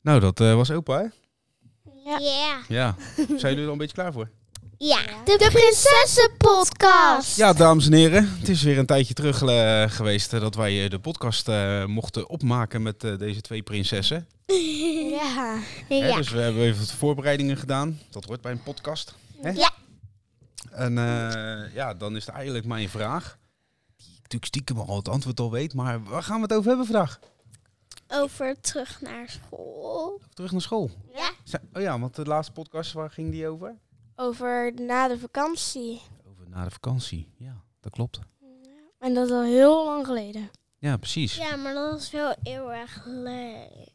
Nou, dat eh, was opa, hè? Ja. Ja. Zijn jullie er al een beetje klaar voor? De, Prinsessenpodcast. Ja, dames en heren. Het is weer een tijdje terug eh, geweest eh, dat wij eh, de podcast eh, mochten opmaken met eh, deze twee prinsessen. Ja. Hè, Ja. dus we hebben even wat voorbereidingen gedaan. Dat hoort bij een podcast. Hè? Ja. En eh, ja, dan is het eigenlijk mijn vraag. Die ik natuurlijk stiekem al het antwoord al weet. Maar waar gaan we het over hebben vandaag? Over terug naar school. Terug naar school. Ja. Zijn- Oh ja, want de laatste podcast, waar ging die over? Over na de vakantie. Over na de vakantie. Ja, dat klopt. En dat is al heel lang geleden. Ja, precies. Ja, maar dat was wel heel erg leuk.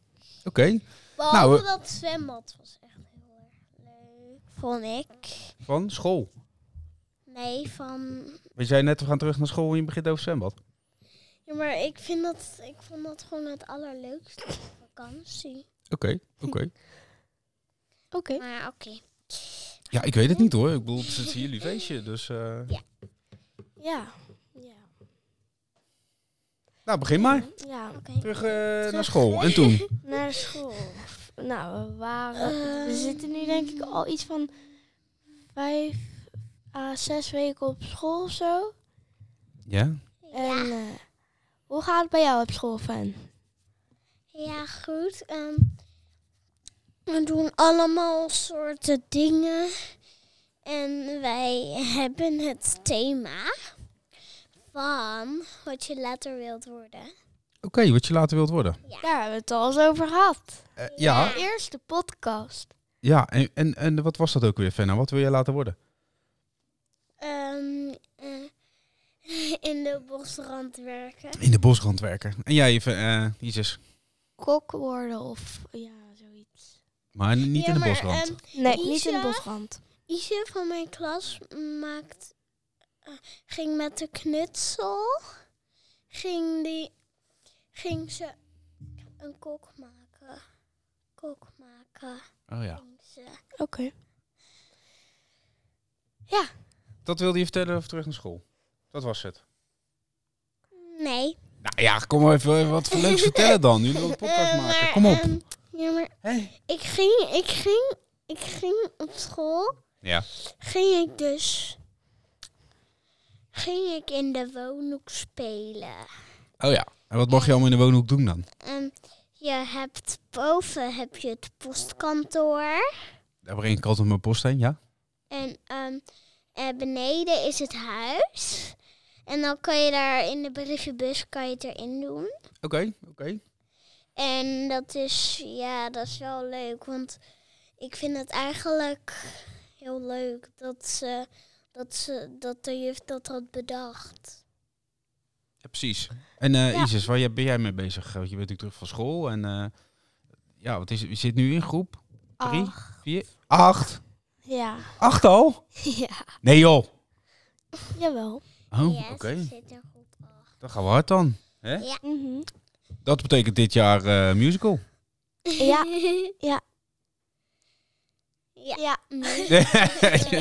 Oké. Behalve Nou, we- dat zwembad was echt heel erg leuk, vond ik. Van school. Nee, van... We zei net, we gaan terug naar school en je begint over zwembad. Ja, maar ik, vind dat, ik vond dat gewoon het allerleukste van vakantie. Oké, oké. Oké. Maar oké. Ja, ik weet het niet hoor. Ik bedoel, het is jullie feestje, dus... eh, Ja. Ja. Nou, begin maar. Ja. Terug, eh, naar school. En toen? Naar school. Nou, we waren... We zitten nu denk ik al iets van vijf à zes weken op school of zo. Ja? En eh, hoe gaat het bij jou op school, Fan? Ja, goed. ehm, we doen allemaal soorten dingen. En wij hebben het thema van wat je later wilt worden. Oké, wat je later wilt worden. Daar hebben we het al eens over gehad. Eh, ja, De eerste podcast. ja. En, en, en wat was dat ook weer, Fenna? Wat wil jij later worden? Ehm, eh, in de bosrand werken. In de bosrand werken. En jij, even, eh Isis? Kok worden of ja, zoiets. Maar niet Ja, in de maar, bosrand. ehm, Nee, niet Ietsje. in de bosrand. Ietsje van mijn klas maakt, eh, ging met de knutsel, ging, die, ging ze een kok maken. Kok maken, Oh ja. ging ze. Oké. Dat wilde je vertellen of terug naar school? Dat was het. Nee. Nou ja, kom maar even eh, wat voor leuks vertellen dan. Jullie willen een podcast Eh, maken. maar, Kom op. ehm, ja, maar Hé. ik ging, ik ging, ik ging op school, Ja. ging ik dus, ging ik in de woonhoek spelen. Oh ja. En wat mag je allemaal in de woonhoek doen dan? Ehm, je hebt boven heb je het postkantoor. Daar breng ik altijd mijn post heen, ja? En ehm, eh, beneden is het huis. En dan kan je daar in de brievenbus kan je het erin doen. Oké, oké. En dat is, ja, dat is wel leuk. Want ik vind het eigenlijk heel leuk dat ze, dat ze, dat de juf dat had bedacht. Ja, precies. En eh, Ja. Isis, waar jij- ben jij mee bezig? Want je bent natuurlijk terug van school. En eh, ja, wat is, het? je zit nu in groep drie, vier, acht. Ah, Ja. Acht al? ja. Nee joh. Jawel. Oh, Ja, oké. ze zit er goed op. Dan gaan we hard dan. Mhm. Dat betekent dit jaar eh, musical. Ja. Ja. Ja. Ja. Mm.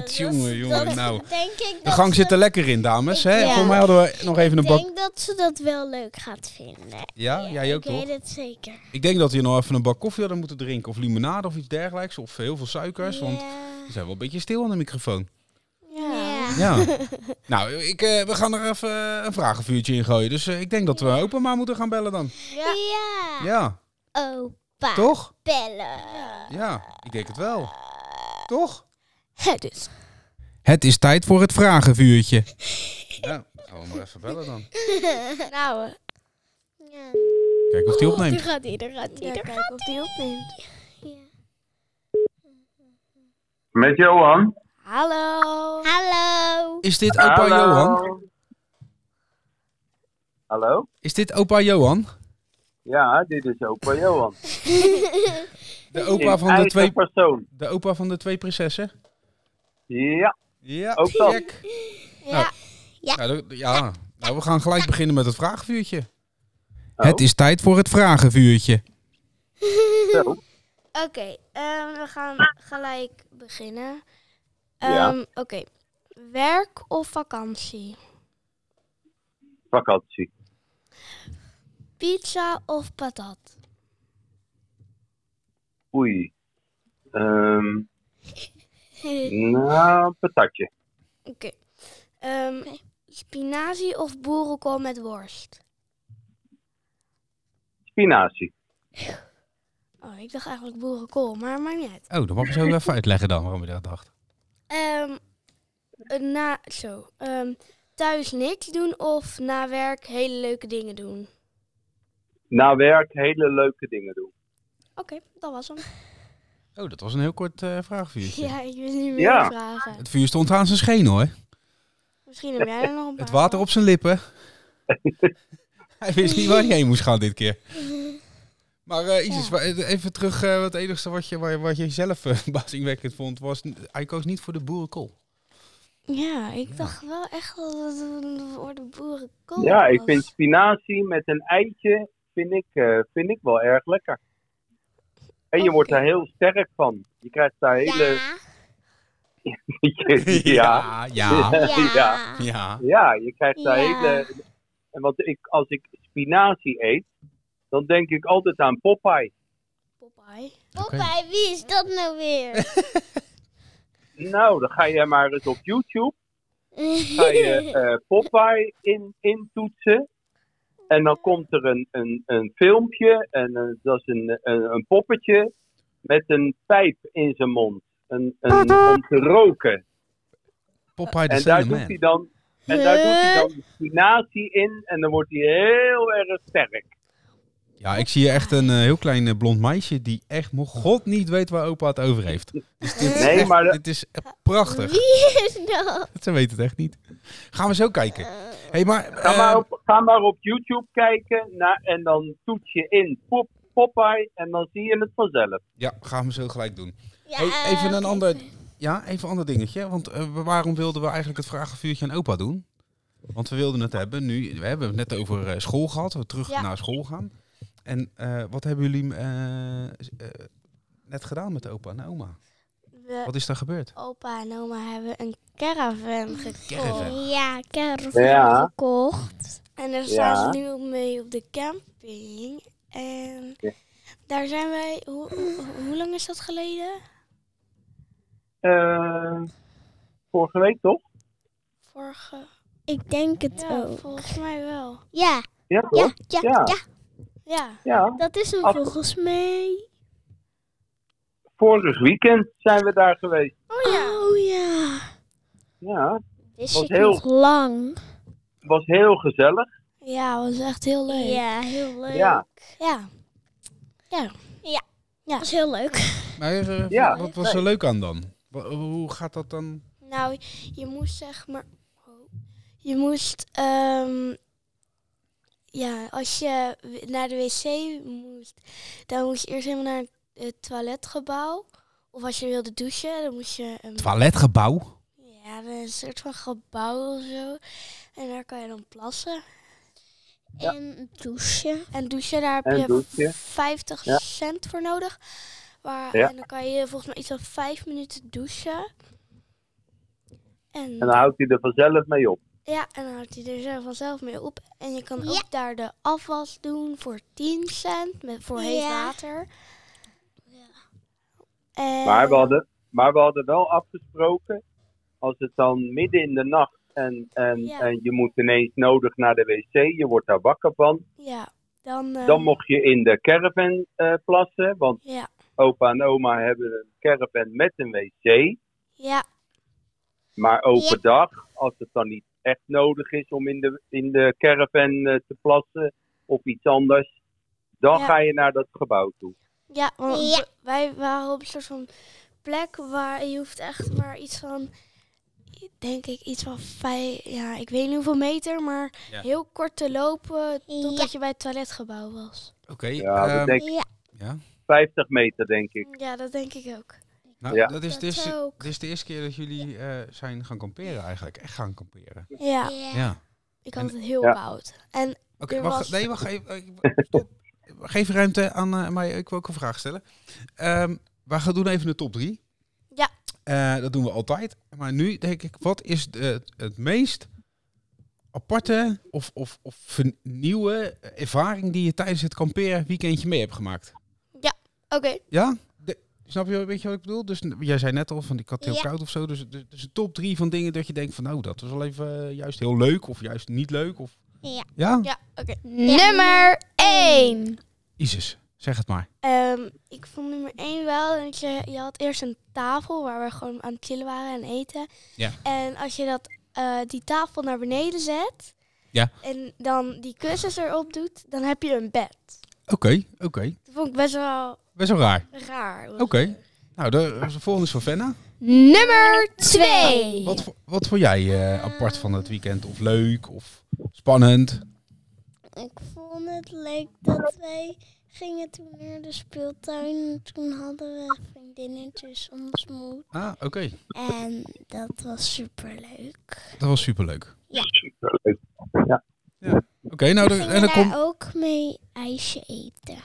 jongen, jongen, nou. Denk ik De dat gang ze- zit er lekker in, dames. Hè? Ja. Volgens mij hadden we nog even een Ik bak... denk dat ze dat wel leuk gaat vinden. Ja, jij ook Ik toch? weet het zeker. Ik denk dat we nog even een bak koffie hadden moeten drinken. Of limonade of iets dergelijks. Of heel veel suikers. Want Ja. we zijn wel een beetje stil aan de microfoon. Ja. Ja. nou, ik, eh, we gaan er even eh, een vragenvuurtje in gooien. Dus eh, ik denk dat we opa maar moeten gaan bellen dan. Ja. Ja. Ja, Opa. toch? Bellen. Ja, ik denk het wel. Toch? Hè, dus. Het is tijd voor het vragenvuurtje. Nou, gaan we maar even bellen dan. Nou, eh, Ja. Kijk of hij Daar opneemt. gaat hij, daar gaat hij. ja, kijken of die opneemt. Ja. Met Johan. Hallo. Hallo. Is dit opa Johan? Hallo? Is dit opa Johan? Ja, dit is opa Johan. De In opa van de eigen twee, persoon. de opa van de twee prinsessen? Ja, Ja, Ook dat. check. Ja. Nou, dat- ja. Nou, we gaan gelijk beginnen met het vragenvuurtje. Oh. Het is tijd voor het vragenvuurtje. zo. Oké, ehm, we gaan gelijk beginnen. Ja. Ehm, Oké. Werk of vakantie? Vakantie. Pizza of patat? Oei. Ehm nou, patatje. Oké. Ehm, Oké. Spinazie of boerenkool met worst? Spinazie. Oh, ik dacht eigenlijk boerenkool, maar maakt niet uit. Oh, dan mag ik zo even uitleggen dan waarom je dat dacht. Ehm, eh, na, zo. ehm, thuis niks doen of na werk hele leuke dingen doen? Na Nou, werk hele leuke dingen doen. Oké, dat was hem. Oh, dat was een heel kort eh vraagvuurtje. Ja, ik wist niet meer Ja. vragen. Het vuur stond aan zijn scheen hoor. Misschien heb jij er nog een paar. Het water op zijn lippen. hij wist niet waar hij heen moest gaan dit keer. Maar eh, Isis, Ja. wa- even terug. eh, het enige wat je, wat je- wat je zelf eh, verbazingwekkend vond, was n- hij koos niet voor de boerenkool. Ja, ik dacht wel echt dat het een- voor de Oh, boerenkool Ja, ik was. vind spinazie met een eitje vind ik, eh, vind ik wel erg lekker. En je wordt Oké. er heel sterk van. Je krijgt daar hele... Ja. ja. ja, Ja. Ja. ja. Ja, je krijgt daar Ja. hele... En want ik, als ik spinazie eet, dan denk ik altijd aan Popeye. Popeye. Popeye, wie is dat nou weer? Nou, dan ga je maar eens op YouTube, ga je eh Popeye in, intoetsen. En dan komt er een, een, een filmpje, en eh, dat is een, een, een poppetje met een pijp in zijn mond. Een, een, om te roken. Popeye de En daar Sailor doet hij Man. dan, en daar doet hij dan de spinazie in, en dan wordt hij heel erg sterk. Ja, ik zie hier echt een eh, heel klein eh, blond meisje die echt mijn god niet weet waar opa het over heeft. Dus dit, is Nee, echt- maar dat- dit is echt prachtig. Wie is dat? Ze weten het echt niet. Gaan we zo kijken. hey, maar, Ga, eh, maar op, ga maar op YouTube kijken na, en dan toets je in Pop, Popeye en dan zie je het vanzelf. Ja, gaan we zo gelijk doen. Ja, Hey, even een oké. ander, ja, even een ander dingetje. Want eh, we- waarom wilden we eigenlijk het vragenvuurtje aan opa doen? Want we wilden het hebben nu. We hebben het net over eh, school gehad. We terug Ja. naar school gaan. En eh, wat hebben jullie eh, s- eh, net gedaan met opa en oma? Eh. We, Wat is daar gebeurd? opa en oma hebben een caravan gekocht. Caravan. Ja, caravan Ja. gekocht. En daar staan Ja. ze nu mee op de camping. En Ja. daar zijn wij... Hoe, hoe- hoe lang is dat geleden? Eh, vorige week toch? Vorige... Oh. Ik denk het Ja, ook. volgens mij wel. Ja, Ja, ja, toch? ja, Ja. ja, Ja. Ja. Dat is hem Af- volgens mij. Vorig weekend zijn we daar geweest. Oh ja. Oh ja. Ja, Wist Was ik heel- nog lang. was heel gezellig. Ja, was echt heel leuk. Ja, heel leuk. Ja. Ja. Dat was heel leuk. Maar, eh, Ja. Wat was er leuk aan dan? Wa- Hoe gaat dat dan? Nou, je moest zeg maar... oh. Je moest... ehm, ja, als je w- naar de wc moest... Dan moest je eerst helemaal naar het toiletgebouw. Of als je wilde douchen, dan moest je... een- Toiletgebouw? Ja, een soort van gebouw of zo. En daar kan je dan plassen. Ja. En douchen. En douchen, daar heb En je douchen. 50 Ja. cent voor nodig. Maar, Ja. En dan kan je volgens mij iets van 5 minuten douchen. En, En dan houdt hij er vanzelf mee op. ja, en dan houdt hij er zo vanzelf mee op. En je kan Ja. ook daar de afwas doen voor 10 cent, met, voor heet Ja. water. En, Maar we, hadden, maar we hadden wel afgesproken, als het dan midden in de nacht en, en, Ja. en je moet ineens nodig naar de wc, je wordt daar wakker van, Ja, dan... eh, dan mocht je in de caravan eh, plassen, want Ja, opa en oma hebben een caravan met een wc. ja, Maar overdag, als het dan niet echt nodig is om in de, in de caravan eh, te plassen of iets anders, dan Ja. ga je naar dat gebouw toe. Ja, want Ja. w- wij waren op een soort van plek waar je hoeft echt maar iets van, denk ik, iets van vijf, ja, ik weet niet hoeveel meter, maar Ja. heel kort te lopen totdat Ja. je bij het toiletgebouw was. Oké. Ja, ehm, dat denk ik Ja. 50 meter, denk ik. Ja, dat denk ik ook. nou, Ja. dat, is Dat de eerste, ook. dat is de eerste keer dat jullie eh, zijn gaan kamperen eigenlijk. Echt gaan kamperen. Ja, ja. ik had En- het heel Ja. koud. En Oké, Er wacht. was- Nee, wacht even. eh, ik- Stop. Geef ruimte aan eh, mij. Ik wil ook een vraag stellen. Ehm we gaan doen even de top drie. Ja. Eh, dat doen we altijd. Maar nu denk ik, wat is de, het meest aparte of, of, of nieuwe ervaring die je tijdens het kamperen weekendje mee hebt gemaakt? oké, Ja? De- Snap je, weet je wat ik bedoel? Dus n- jij zei net al van ik had heel Ja. koud of zo. Dus, dus, dus een top drie van dingen dat je denkt van nou, dat was wel even eh, juist heel leuk of juist niet leuk. Of... Ja. Ja? Ja, oké. Nummer 1. Isis, zeg het maar. Ehm, ik vond nummer 1 wel. dat je, je had eerst een tafel waar we gewoon aan het chillen waren en eten. Ja. En als je dat, eh, die tafel naar beneden zet. Ja. En dan die kussens erop doet, dan heb je een bed. Oké, oké. Dat vond ik best wel Best wel raar. raar. Oké. Nou, de, de volgende is van Venna. Nummer 2. Wat, vo- wat vond jij eh, apart van het weekend? Of leuk? Of spannend? Ik vond het leuk dat wij gingen toen naar de speeltuin. Toen hadden we vriendinnetjes ontmoet. Ah, oké. En dat was superleuk. Dat was superleuk. Superleuk. Oké, nou, We de- en gingen dan komt daar ook mee ijsje eten.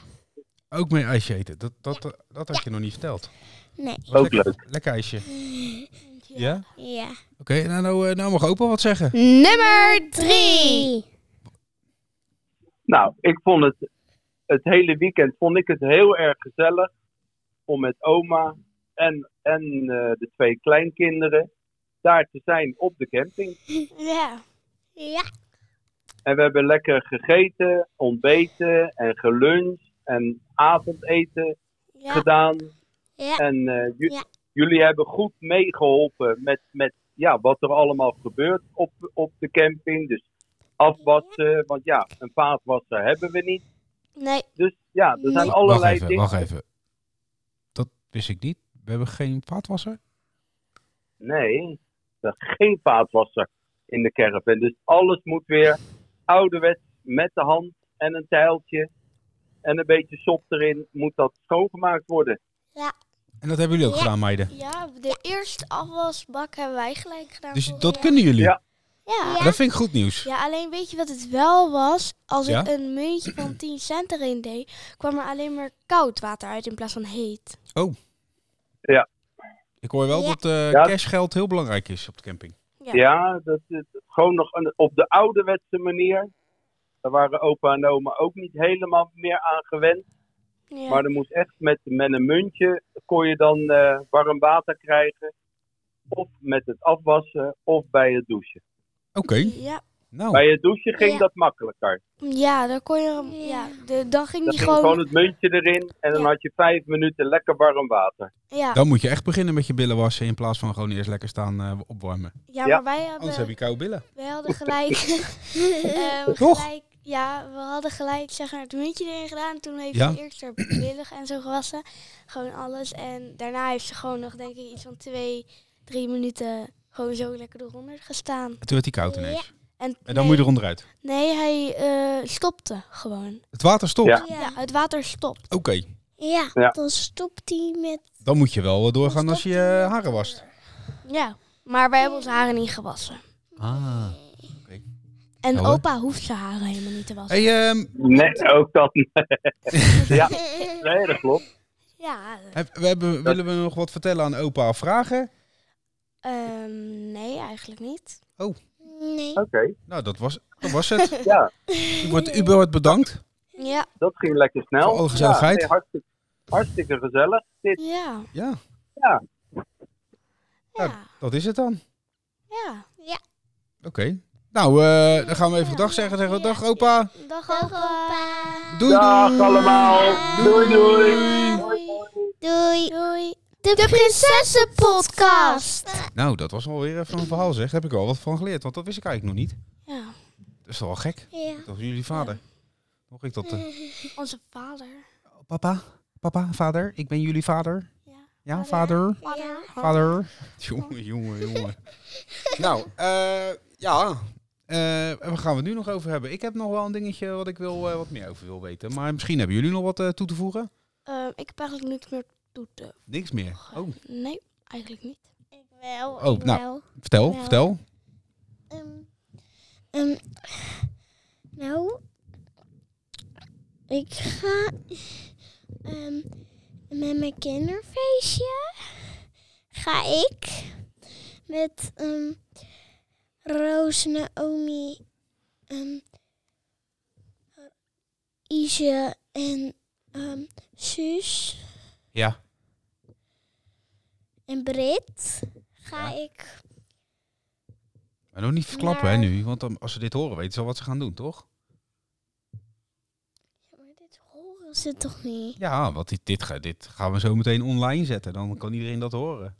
eh, ook mee ijsje eten. Dat, dat, dat, had je nog niet verteld. Nee, Was Ook lekker, Lekker ijsje. Ja? ja. Oké, nou, nou, eh, nou mag opa wat zeggen. Nummer 3. Nou, ik vond het het hele weekend vond ik het heel erg gezellig om met oma en, en eh, de twee kleinkinderen daar te zijn op de camping. Ja. Ja, En we hebben lekker gegeten, ontbeten en geluncht en avondeten Ja. gedaan. ja. En eh, ju- Ja. jullie hebben goed meegeholpen met, met ja, wat er allemaal gebeurt op, op de camping. Dus afwassen, want ja, een vaatwasser hebben we niet. Nee. Dus ja, er zijn Nee. allerlei wacht even, dingen. wacht even. Dat wist ik niet. We hebben geen vaatwasser. Nee, er is geen vaatwasser in de caravan. Dus alles moet weer ouderwets met de hand en een tijltje en een beetje sop erin moet dat schoongemaakt worden. En dat hebben jullie ook Ja. gedaan, meiden. Ja, de eerste afwasbak hebben wij gelijk gedaan. Dus volgens dat mij. kunnen jullie. Ja. Ja. Dat vind ik goed nieuws. Ja, alleen weet je wat het wel was? Als Ja? ik een muntje van 10 cent erin deed, kwam er alleen maar koud water uit in plaats van heet. Ik hoor wel Ja. dat eh Ja. cashgeld heel belangrijk is op de camping. Ja. Ja, dat is gewoon nog een- op de ouderwetse manier. Daar waren opa en oma ook niet helemaal meer aan gewend. Ja. Maar er moest echt met, met een muntje, kon je dan eh, warm water krijgen. Of met het afwassen, of bij het douchen. Oké, ja. nou. Bij het douchen ging Ja. dat makkelijker. Ja, dan kon je hem. Ja, de, dan ging Dan die ging gewoon. gewoon... het muntje erin en dan Ja. had je vijf minuten lekker warm water. ja, Dan moet je echt beginnen met je billen wassen in plaats van gewoon eerst lekker staan eh, opwarmen. ja, Ja. maar wij Anders hebben, heb je koude billen. wij hadden gelijk. ehm, Toch? gelijk. Ja, we hadden gelijk zeg maar, het muntje erin gedaan. Toen heeft Ja. ze eerst haar billig en zo gewassen. Gewoon alles. En daarna heeft ze gewoon nog, denk ik, iets van twee, drie minuten gewoon zo lekker eronder gestaan. En toen werd die koud ineens. En, En dan moet je eronder uit. Nee, hij eh, stopte gewoon. Het water stopt. Ja. Ja. het water stopt. Oké, Ja, Ja. dan stopt hij met... dan moet je wel eh, doorgaan Dan als je stopt hij je met haren wast. Ja, maar wij hebben onze haren niet gewassen. Ah. En Nou, hè. opa hoeft zijn haren helemaal niet te wassen. Hey, ehm, Nee, ook dat niet. ja, nee, dat klopt. Ja, eh, heb- we hebben, willen we nog wat vertellen aan opa of vragen? ehm, nee, eigenlijk niet. Nee. Oké, Nou, dat was, dat was het. ja, U wordt, u wordt bedankt. Ja, dat ging lekker snel. Voor alle gezelligheid. Ja, nee, hartstikke, hartstikke gezellig. Dit, ja, Ja, Ja. ja, dat is het dan. ja. Oké. Nou, eh, dan gaan we even gedag zeggen. Zeggen we dag opa. Dag Dag opa. opa. Doei Dag doei. allemaal. Doei, doei. Doei. Doei. De Prinsessenpodcast. Nou, dat was alweer even een verhaal zeg. Daar heb ik wel wat van geleerd, want dat wist ik eigenlijk nog niet. Ja, Dat is toch wel gek. Ja. Dat was jullie vader. Nog ik dat? eh, onze vader. Oh, papa? Papa, vader? Ik ben jullie vader? Ja. Ja, vader? Vader. Ja. Vader? Jongen, jongen, jongen. nou, eh, ja. Eh, en waar gaan we het nu nog over hebben? Ik heb nog wel een dingetje wat ik wil, eh, wat meer over wil weten. Maar misschien hebben jullie nog wat eh, toe te voegen? Ehm, ik heb eigenlijk niks meer toe te Niks meer. voegen. Oh, Nee, eigenlijk niet. Ik wel. Oh, ik nou. wel. vertel, Nou. vertel. Ehm, ehm, nou, ik ga ehm, met mijn kinderfeestje ga ik met ehm Roos, Naomi, ehm Ije en ehm Suus Ja. in Brit ga Ja. ik. Maar nog niet verklappen hè, Maar- nu, want dan, als ze dit horen weten ze al wat ze gaan doen, toch? Ja, maar dit horen ze toch niet? Ja, want dit, dit, ga- dit gaan we zo meteen online zetten. Dan kan iedereen dat horen.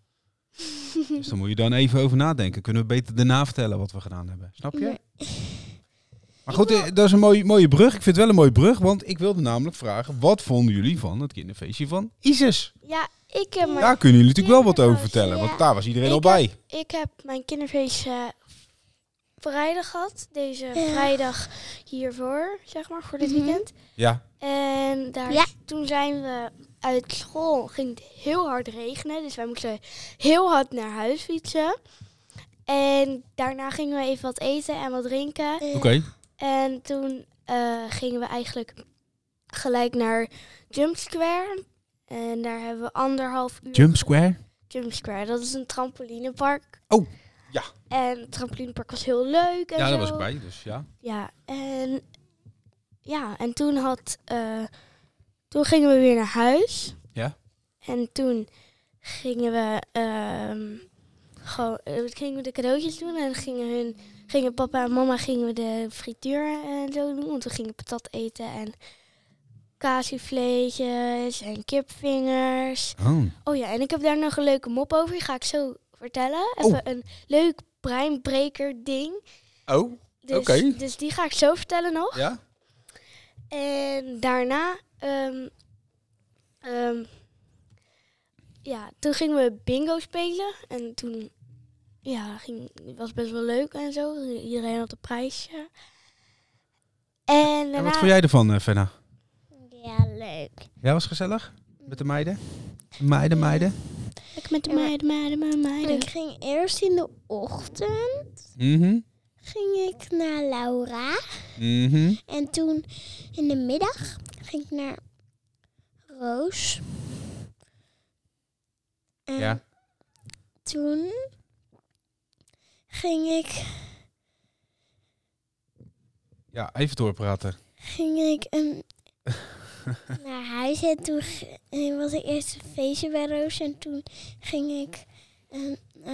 dus dan moet je dan even over nadenken. Kunnen we beter daarna vertellen wat we gedaan hebben. Snap je? Nee. Maar goed, eh, dat is een mooie, mooie brug. Ik vind het wel een mooie brug, want ik wilde namelijk vragen... wat vonden jullie van het kinderfeestje van ISIS? Ja, ik eh, heb, mijn, Daar kunnen jullie natuurlijk wel wat over kinderfeestje, vertellen, want ja. daar was iedereen Ik al bij. ik heb mijn kinderfeestje vrijdag gehad. Deze Ja. vrijdag hiervoor, zeg maar, voor dit Mhm. weekend. Ja, En daar, Ja. toen zijn we uit school. Ging het heel hard regenen. Dus wij moesten heel hard naar huis fietsen. En daarna gingen we even wat eten en wat drinken. oké. En toen eh, gingen we eigenlijk gelijk naar Jump Square. En daar hebben we anderhalf uur. Jump Square. Jump Square, dat is een trampolinepark. Oh, ja. En het trampolinepark was heel leuk. En Ja, zo. daar was ik bij, dus ja. Ja, en, ja, en toen had. eh, toen gingen we weer naar huis. Ja. En toen gingen we. ehm, gewoon, eh, gingen we de cadeautjes doen en gingen hun. Gingen papa en mama gingen we de frituur en zo doen. Want we gingen patat eten en kaasvleetjes en kipvingers. Oh. Oh ja, en ik heb daar nog een leuke mop over. Die ga ik zo vertellen. Even een leuk breinbreker ding. Oh, Dus, Oké. dus die ga ik zo vertellen nog. ja? En daarna... ehm, ehm, ja, toen gingen we bingo spelen. En toen... Ja, ging, was best wel leuk en zo. Iedereen had een prijsje. En daarna... En wat vond jij ervan, eh, Fenna? Ja, leuk. Ja, was gezellig? Met de meiden? Meiden, meiden? Lekker met de Ja, maar- meiden, meiden, meiden, meiden. Ik ging eerst in de ochtend Mhm. ging ik naar Laura. Mhm. En toen in de middag ging ik naar Roos. En Ja. toen ging ik, Ja, even doorpraten. ging ik een, naar huis. En toen g- eh, was ik eerst een feestje bij Roos. En toen ging ik eh,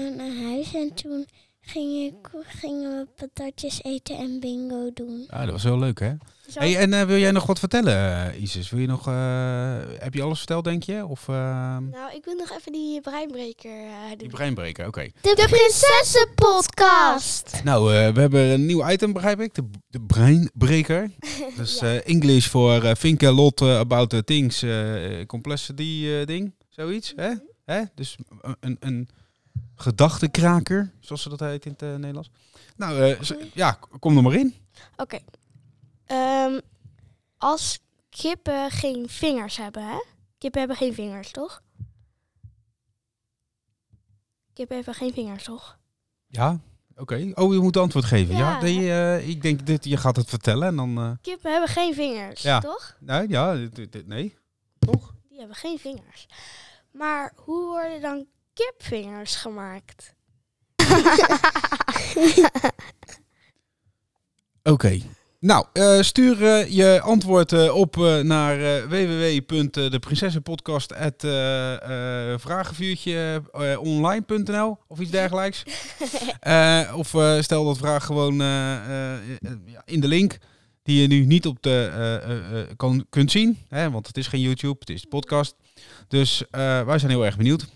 eh, naar huis. En toen ging ik, gingen we patatjes eten en bingo doen. Ja, dat was wel leuk, hè? Zo. Hey, en eh, wil jij nog wat vertellen, eh, Isis? Wil je nog, eh, heb je alles verteld, denk je? Of eh, Nou, ik wil nog even die breinbreker eh, doen. die breinbreker? Oké. De Prinsessenpodcast. Nou, eh, we hebben een nieuw item, begrijp ik. De, de breinbreker. Dus eh English voor eh think a lot eh, about the things, eh, eh, complexity eh, ding. Zoiets, hè? hè? Dus een, een, een gedachtenkraker, zoals ze dat heet in het eh, Nederlands. Nou, eh, ze- ja, k- kom er maar in. Oké. Ehm, als kippen geen vingers hebben, hè? Kippen hebben geen vingers, toch? Kippen hebben geen vingers, toch? Ja, oké. Oh, je moet antwoord geven. Ja, Ja. nee, eh, ik denk, dit, je gaat het vertellen en dan... eh, Kippen hebben geen vingers, Ja. toch? Nee, ja, dit- dit- dit- nee. Toch? Die hebben geen vingers. Maar hoe worden dan kipvingers gemaakt? Oké. Nou, eh, stuur eh, je antwoord eh, op eh, naar eh eh, www.deprinsessenpodcast.vragenvuurtjeonline.nl of iets dergelijks. Eh, of eh, stel dat vraag gewoon eh, eh, eh, ja, in de link die je nu niet op de, eh, eh, eh, kan, kunt zien. Hè, want het is geen YouTube, het is podcast. Dus eh, wij zijn heel erg benieuwd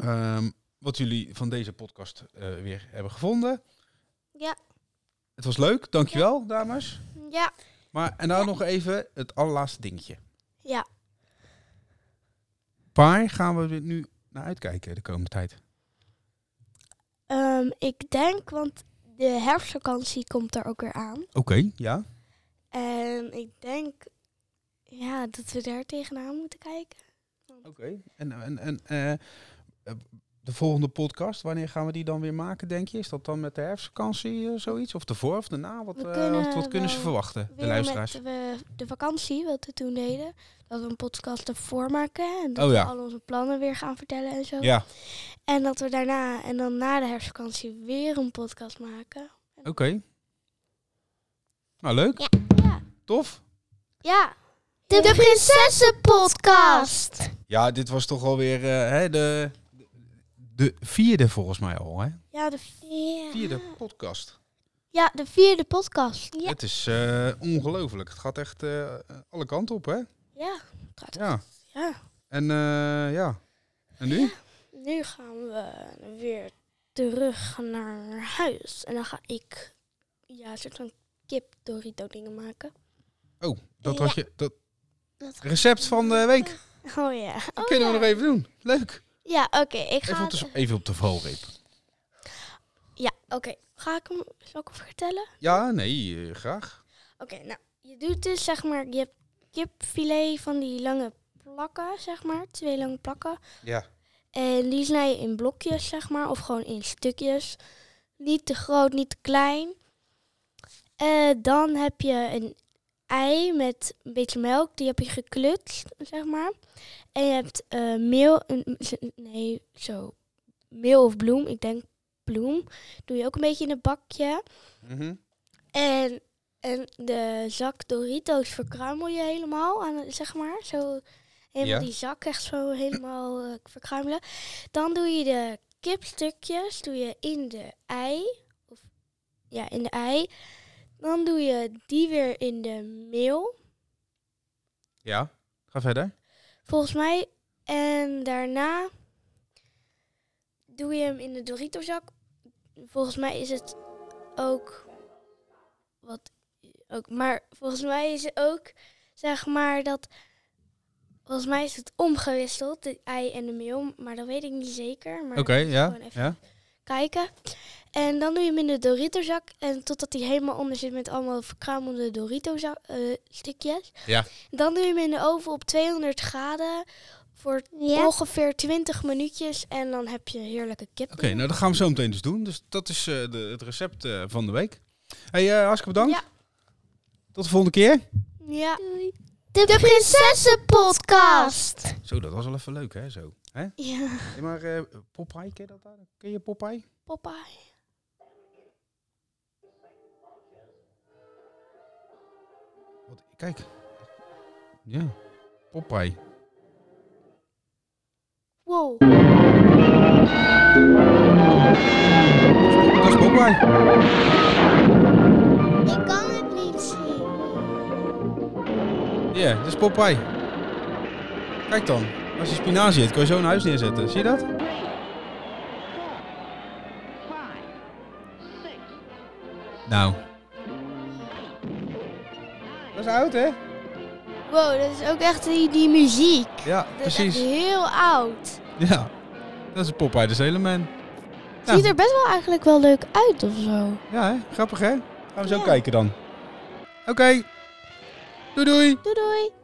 ehm, wat jullie van deze podcast eh, weer hebben gevonden. Ja. Het was leuk, dankjewel dames. Ja. Maar en nou nog even het allerlaatste dingetje. Ja. Waar gaan we dit nu naar uitkijken de komende tijd? Ehm, ik denk, want de herfstvakantie komt er ook weer aan. Oké, ja. En ik denk, ja, dat we daar tegenaan moeten kijken. Oké. En, en, en eh, eh, de volgende podcast, wanneer gaan we die dan weer maken, denk je? Is dat dan met de herfstvakantie eh, zoiets? Of ervoor of daarna? Wat, We eh, kunnen wat, wat kunnen ze wel verwachten, de Weer luisteraars? met we de vakantie, wat we toen deden. Dat we een podcast ervoor maken. En dat Oh ja. we al onze plannen weer gaan vertellen en zo. Ja, En dat we daarna en dan na de herfstvakantie weer een podcast maken. oké. Nou, leuk. Ja. Ja. Tof. Ja, De Prinsessenpodcast. Ja, dit was toch alweer eh, hè, de, de vierde volgens mij al, hè? Ja, de, Vierde podcast. ja, de vierde podcast. Ja. Het is eh, ongelooflijk. Het gaat echt eh, alle kanten op, hè? Ja. Ja. Ja. En eh, ja. En nu? Nu gaan we weer terug naar huis. En dan ga ik ja, een soort van kip Dorito dingen maken. Oh, dat Ja. was je. Dat Dat gaat- recept van de week. Dat Oh ja. Oh, kunnen ja. we nog even doen. Leuk. Ja, oké. ik Even ga... op de, even op de valreep. Ja, oké. Ga ik hem, zal ik hem vertellen? Ja, nee, eh, graag. Oké, nou. Je doet dus, zeg maar, je hebt kipfilet van die lange plakken, zeg maar. Twee lange plakken. Ja. En die snij je in blokjes, zeg maar, of gewoon in stukjes. Niet te groot, niet te klein. Eh, dan heb je een ei met een beetje melk, die heb je geklutst, zeg maar. En je hebt eh, meel, een- nee, zo, meel of bloem, ik denk bloem. Doe je ook een beetje in een bakje. Mhm. En, en de zak Doritos verkruimel je helemaal, aan, zeg maar. Zo Ja. helemaal die zak echt zo helemaal eh, verkruimelen. Dan doe je de kipstukjes doe je in de ei. Of, ja, in de ei. Dan doe je die weer in de meel, Ja. Ga verder. volgens mij. En daarna doe je hem in de Doritozak. Volgens mij is het ook wat ook, maar volgens mij is het ook zeg maar dat volgens mij is het omgewisseld de ei en de meel, maar dat weet ik niet zeker. Maar Oké, ja. gewoon even ja. kijken. En dan doe je hem in de Doritozak en totdat hij helemaal onder zit met allemaal verkruimelde Dorito stukjes. Ja. Dan doe je hem in de oven op 200 graden voor Ja. ongeveer 20 minuutjes en dan heb je heerlijke kip. Oké, nou dat gaan we zo meteen dus doen. Dus dat is eh, de, het recept eh, van de week. hey, eh, hartstikke bedankt. Ja. Tot de volgende keer. Ja. De Prinsessenpodcast. Zo, dat was wel even leuk, hè? Zo. Hè? Ja. Hey, maar eh Popeye, ken je dat daar? Ken je Popeye? Popeye. Wat, kijk. Ja. Popeye. Wow. Dat is Popeye. Ik kan het niet zien. Ja, dat is Popeye. Kijk dan. Als je spinazie eet, kun je zo een huis neerzetten. Zie je dat? Nou. Dat is oud, hè? Wow, dat is ook echt die, die muziek. Ja, Dat is precies. echt heel oud. Ja. Dat is Popeye dus de Zeeleman. Ja. Ziet er best wel eigenlijk wel leuk uit of zo. Ja, hè? grappig hè? Gaan we zo Ja. kijken dan. Oké. Doei doei. Doei doei.